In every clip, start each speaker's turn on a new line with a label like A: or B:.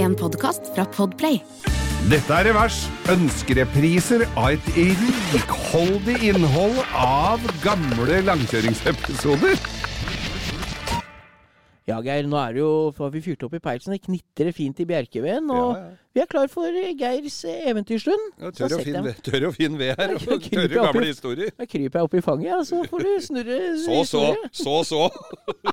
A: en podkast fra Podplay.
B: Dette er Revers. Ønskerepriser av et rikholdig innhold av gamle langkjøringsepisoder.
C: Ja, Geir, nå er det jo, har vi fyrt opp i peisen. Det knitrer fint i bjerkeveien. Og
B: Ja, ja.
C: vi er klar for eh, Geirs eventyrstund.
B: Ja, Tørr
C: Så
B: og
C: setter
B: fin
C: jeg meg-
B: ve- tørr og fin ved her, og
C: Jeg
B: tørre
C: kryper opp i-
B: gamle historier.
C: Da kryper jeg opp i fanget, og så får du snurre.
B: Så, så,
C: snurre.
B: så, så.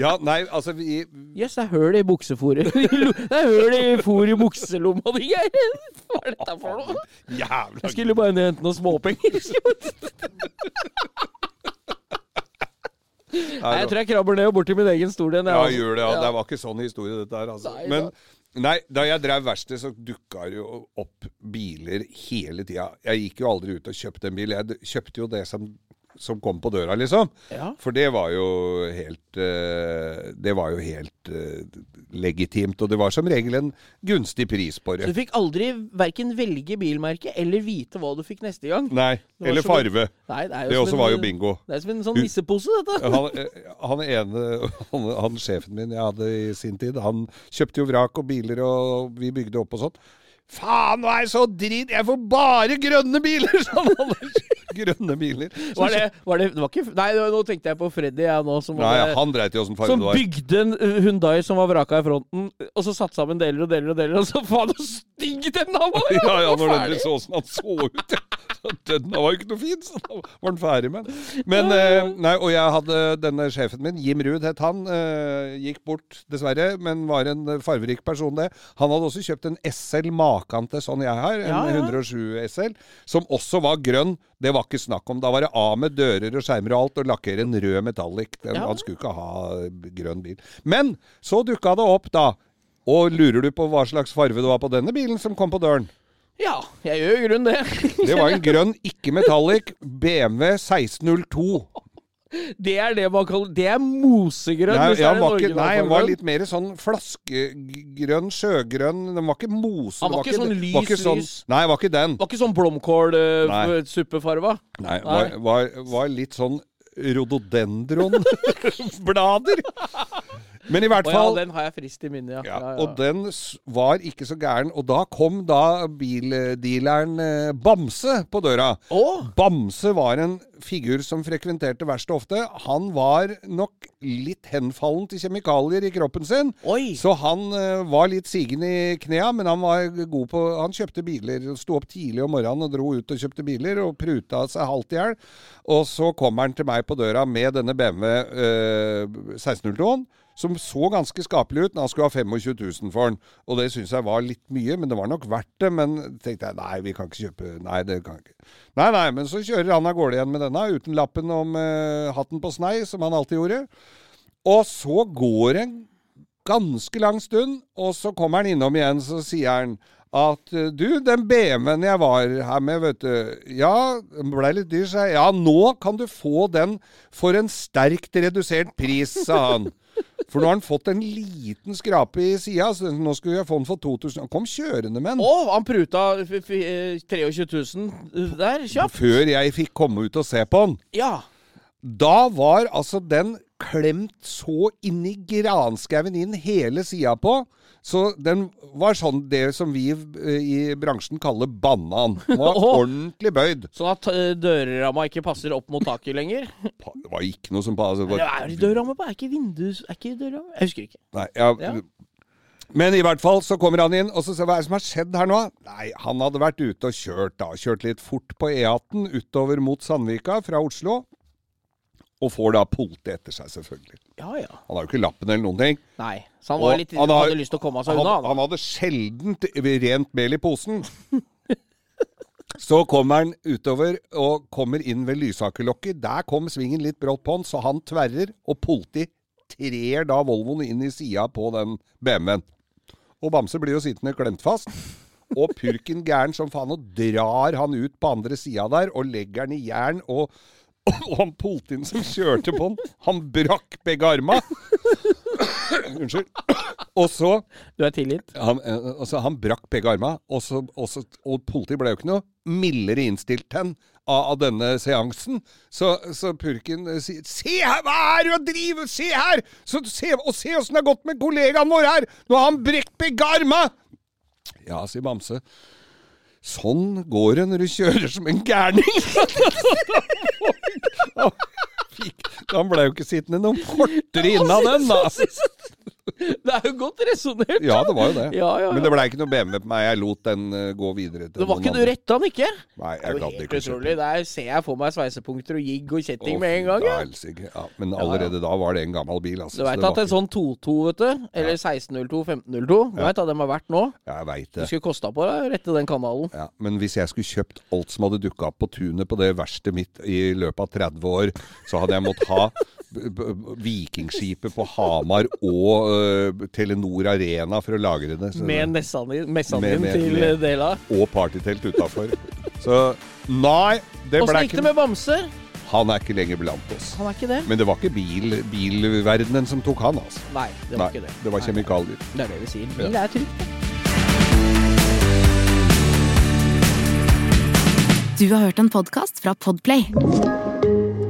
B: Ja, nei, altså vi
C: Jøss, det er høl i buksefòret. Det er høl i fôr i bukselomma di, Geir. Hva er dette for noe? Jeg
B: Jævla
C: skulle bare ned og hente noen småpenger. Nei, jeg tror jeg krabber ned og bort til min egen stol igjen. jeg,
B: Ja,
C: altså.
B: gjør det. Ja. Det var ikke sånn historie, dette her. Altså.
C: Nei,
B: Men nei, da jeg drev verksted, så dukka det jo opp biler hele tida. Jeg gikk jo aldri ut og kjøpte en bil. Jeg d- kjøpte jo det som, som kom på døra, liksom.
C: Ja.
B: For det var jo helt eh, Det var jo helt eh, legitimt. Og det var som regel en gunstig pris på
C: Så
B: det.
C: du fikk aldri verken velge bilmerke eller vite hva du fikk neste gang.
B: Nei.
C: var
B: Eller
C: som en-
B: farve.
C: Nei, det er
B: Det
C: som
B: også
C: en-
B: var jo bingo.
C: Det er som en sånn nissepose, dette.
B: Han, eh, han ene, han, han sjefen min jeg hadde i sin tid, han kjøpte jo vrak og biler og vi bygde opp og sånn. Faen, nå er jeg så drit, jeg får bare grønne biler! sa han. Han hadde grønne biler. Så
C: Var det, var det, det var ikke Nei, det var- nå tenkte jeg på Freddy, jeg nå, som,
B: Nei,
C: hadde-
B: han dreit i åssen farge
C: som
B: det var.
C: bygde en uh, Hyundai som var vraka i fronten, og så satte sammen deler og deler og deler, og så faen, så stygg den da var!
B: Ja, ja,
C: Han var
B: når den
C: ferdig.
B: så åssen han så ut. ja. Den var jo ikke noe fin, så da var den ferdig med den. Men, eh, nei, og jeg hadde denne sjefen min, Jim Ruud het han, eh, gikk bort dessverre, men var en eh, farverik person det. Han hadde også kjøpt en SL maken til sånn jeg har, en
C: Ja, ja.
B: 107 SL, som også var grønn. Det var ikke snakk om. Da var det av med dører og skjermer og alt, og lakkere en rød metallic. Den,
C: Ja.
B: Han skulle ikke ha eh, grønn bil. Men så dukka det opp, da. Og lurer du på hva slags farve det var på denne bilen som kom på døren?
C: Ja, jeg gjør i grunnen det.
B: Det var en grønn, ikke metallic BMW 1602.
C: Det er det man kaller Det er mosegrønn.
B: Nei,
C: hvis det
B: ja,
C: er
B: den
C: en
B: var ikke, nei, den var
C: originalfarge.
B: litt mer sånn flaskegrønn, sjøgrønn. Den var ikke mose.
C: Han var
B: det
C: ikke sånn
B: det
C: lys,
B: var ikke sånn-
C: lys.
B: Nei, det var ikke den.
C: var ikke sånn
B: Nei.
C: blomkålsuppefarva? Uh, suppefarva.
B: Nei, var, var, var litt sånn rododendron-blader. Men i hvert
C: Å ja,
B: fall
C: den har jeg frist i minnet, ja.
B: ja,
C: Ja, ja.
B: Og den s- var ikke så gæren. Og da kom da bildealeren eh, Bamse på døra.
C: Å?
B: Bamse var en figur som frekventerte verkstedet ofte. Han var nok litt henfallen til kjemikalier i kroppen sin.
C: Oi.
B: Så han eh, var litt sigen i knea, men han var god på Han kjøpte biler. Sto opp tidlig om morgenen og dro ut og kjøpte biler, og pruta seg halvt i hjel. Og så kommer han til meg på døra med denne BMW eh, 1602-en. Som så ganske skapelig ut når han skulle ha 25 000 for den. Og det syns jeg var litt mye, men det var nok verdt det. Men tenkte jeg nei, vi kan ikke kjøpe Nei, det kan ikke Nei, nei, men så kjører han av gårde igjen med denne, uten lappen om eh, hatten på snei, som han alltid gjorde. Og så går det en ganske lang stund, og så kommer han innom igjen, så sier han at eh, du, den BMW-en jeg var her med, vet du Ja, den ble litt dyr, sa jeg. Ja, nå kan du få den for en sterkt redusert pris, sa han. For nå har han fått en liten skrape i sida, så nå skulle jeg få den for 2000. Han kom kjørende med den.
C: Å, han pruta f f eh, 23 000 der, kjapt.
B: Før jeg fikk komme ut og se på den.
C: Ja.
B: Da var altså den klemt så inn i granskauen inn hele sida på. Så den var sånn det som vi eh, i bransjen kaller banan. Den var
C: Åh.
B: ordentlig bøyd.
C: Sånn at eh, dørramma ikke passer opp mot taket lenger.
B: Pa- Det var ikke noe som pa- altså, det
C: Det
B: var-
C: er dørramma på, er ikke vindus... Er ikke dørramma? Jeg husker ikke.
B: Nei, ja.
C: Ja.
B: Men i hvert fall så kommer han inn, og så ser jeg hva er det som har skjedd her nå. Nei, han hadde vært ute og kjørt, da. Kjørt litt fort på E18 utover mot Sandvika fra Oslo. Og får da politiet etter seg, selvfølgelig.
C: Ja, ja.
B: Han har jo ikke lappen eller noen ting.
C: Nei. Så han, var
B: Og
C: litt,
B: han
C: han
B: har-
C: hadde lyst til å komme seg
B: han,
C: unna. Han,
B: han hadde sjelden rent mel i posen. Så kommer han utover og kommer inn ved Lysakerlokket. Der kom svingen litt brått på han, så han tverrer, og politiet trer da Volvoen inn i sida på den BMW-en. Og Bamse blir jo sittende klemt fast. Og purken gæren som faen, og drar han ut på andre sida der, og legger han i jern. Og, og han politien som kjørte på han, han brakk begge arma. Unnskyld. Og så
C: Du er tilgitt?
B: han, eh, altså, han brakk begge arma, og, så, og, så, og politiet ble jo ikke noe mildere innstilt enn av, av denne seansen. Så, så purken eh, sier Se her, hva er det du driver Se her! Så, se, og se åssen det har gått med kollegaen vår her! Nå har han brekt begge arma! Ja, sier Bamse. Sånn går det når du kjører som en gærning! Han fikk- Han blei jo ikke sittende noen fortere inna den, da.
C: Det er jo godt resonnert.
B: Ja, det var jo det.
C: Ja, ja, ja.
B: Men det blei ikke noe BMW på meg. Jeg lot den eh, gå videre til
C: Det var
B: noen
C: ikke du
B: andre.
C: retta han ikke?
B: Nei,
C: Det er
B: jeg
C: jo
B: gadd
C: helt
B: ikke. å kjøpe
C: utrolig. Der ser jeg for meg sveisepunkter og jigg og
B: Å,
C: kjetting med en gang.
B: fy,
C: Ja.
B: da helsike. Ja, men allerede da var det en gammel bil. Altså,
C: Du
B: så
C: veit
B: det
C: at
B: var
C: en sånn 22, vet du, eller 1602, 1502, du veit at de har vært nå?
B: ikke- Jeg veit
C: Det
B: det.
C: skulle kosta på deg å rette den kanalen.
B: Ja, men hvis jeg skulle kjøpt alt som hadde dukka opp på tunet på det verkstedet mitt i løpet av 30 år, så hadde jeg måttet ha b- b- Vikingskipet på Hamar og øh, Telenor Arena for å lagre det. så-
C: Med nessene din- messene
B: Med-
C: din
B: med-
C: til
B: med-
C: eh, dela.
B: Og partytelt utafor. Så nei, det
C: Åssen
B: ble
C: gikk det
B: ikke
C: med Bamse?
B: Han er ikke lenger blant oss.
C: Han er ikke det?
B: Men det var ikke bil, bilverdenen som tok han, altså.
C: Nei, det var
B: Nei,
C: ikke det.
B: det var
C: Nei.
B: kjemikalier.
C: Det er det vi sier. Bil er trygt.
A: Du har hørt en podkast fra Podplay.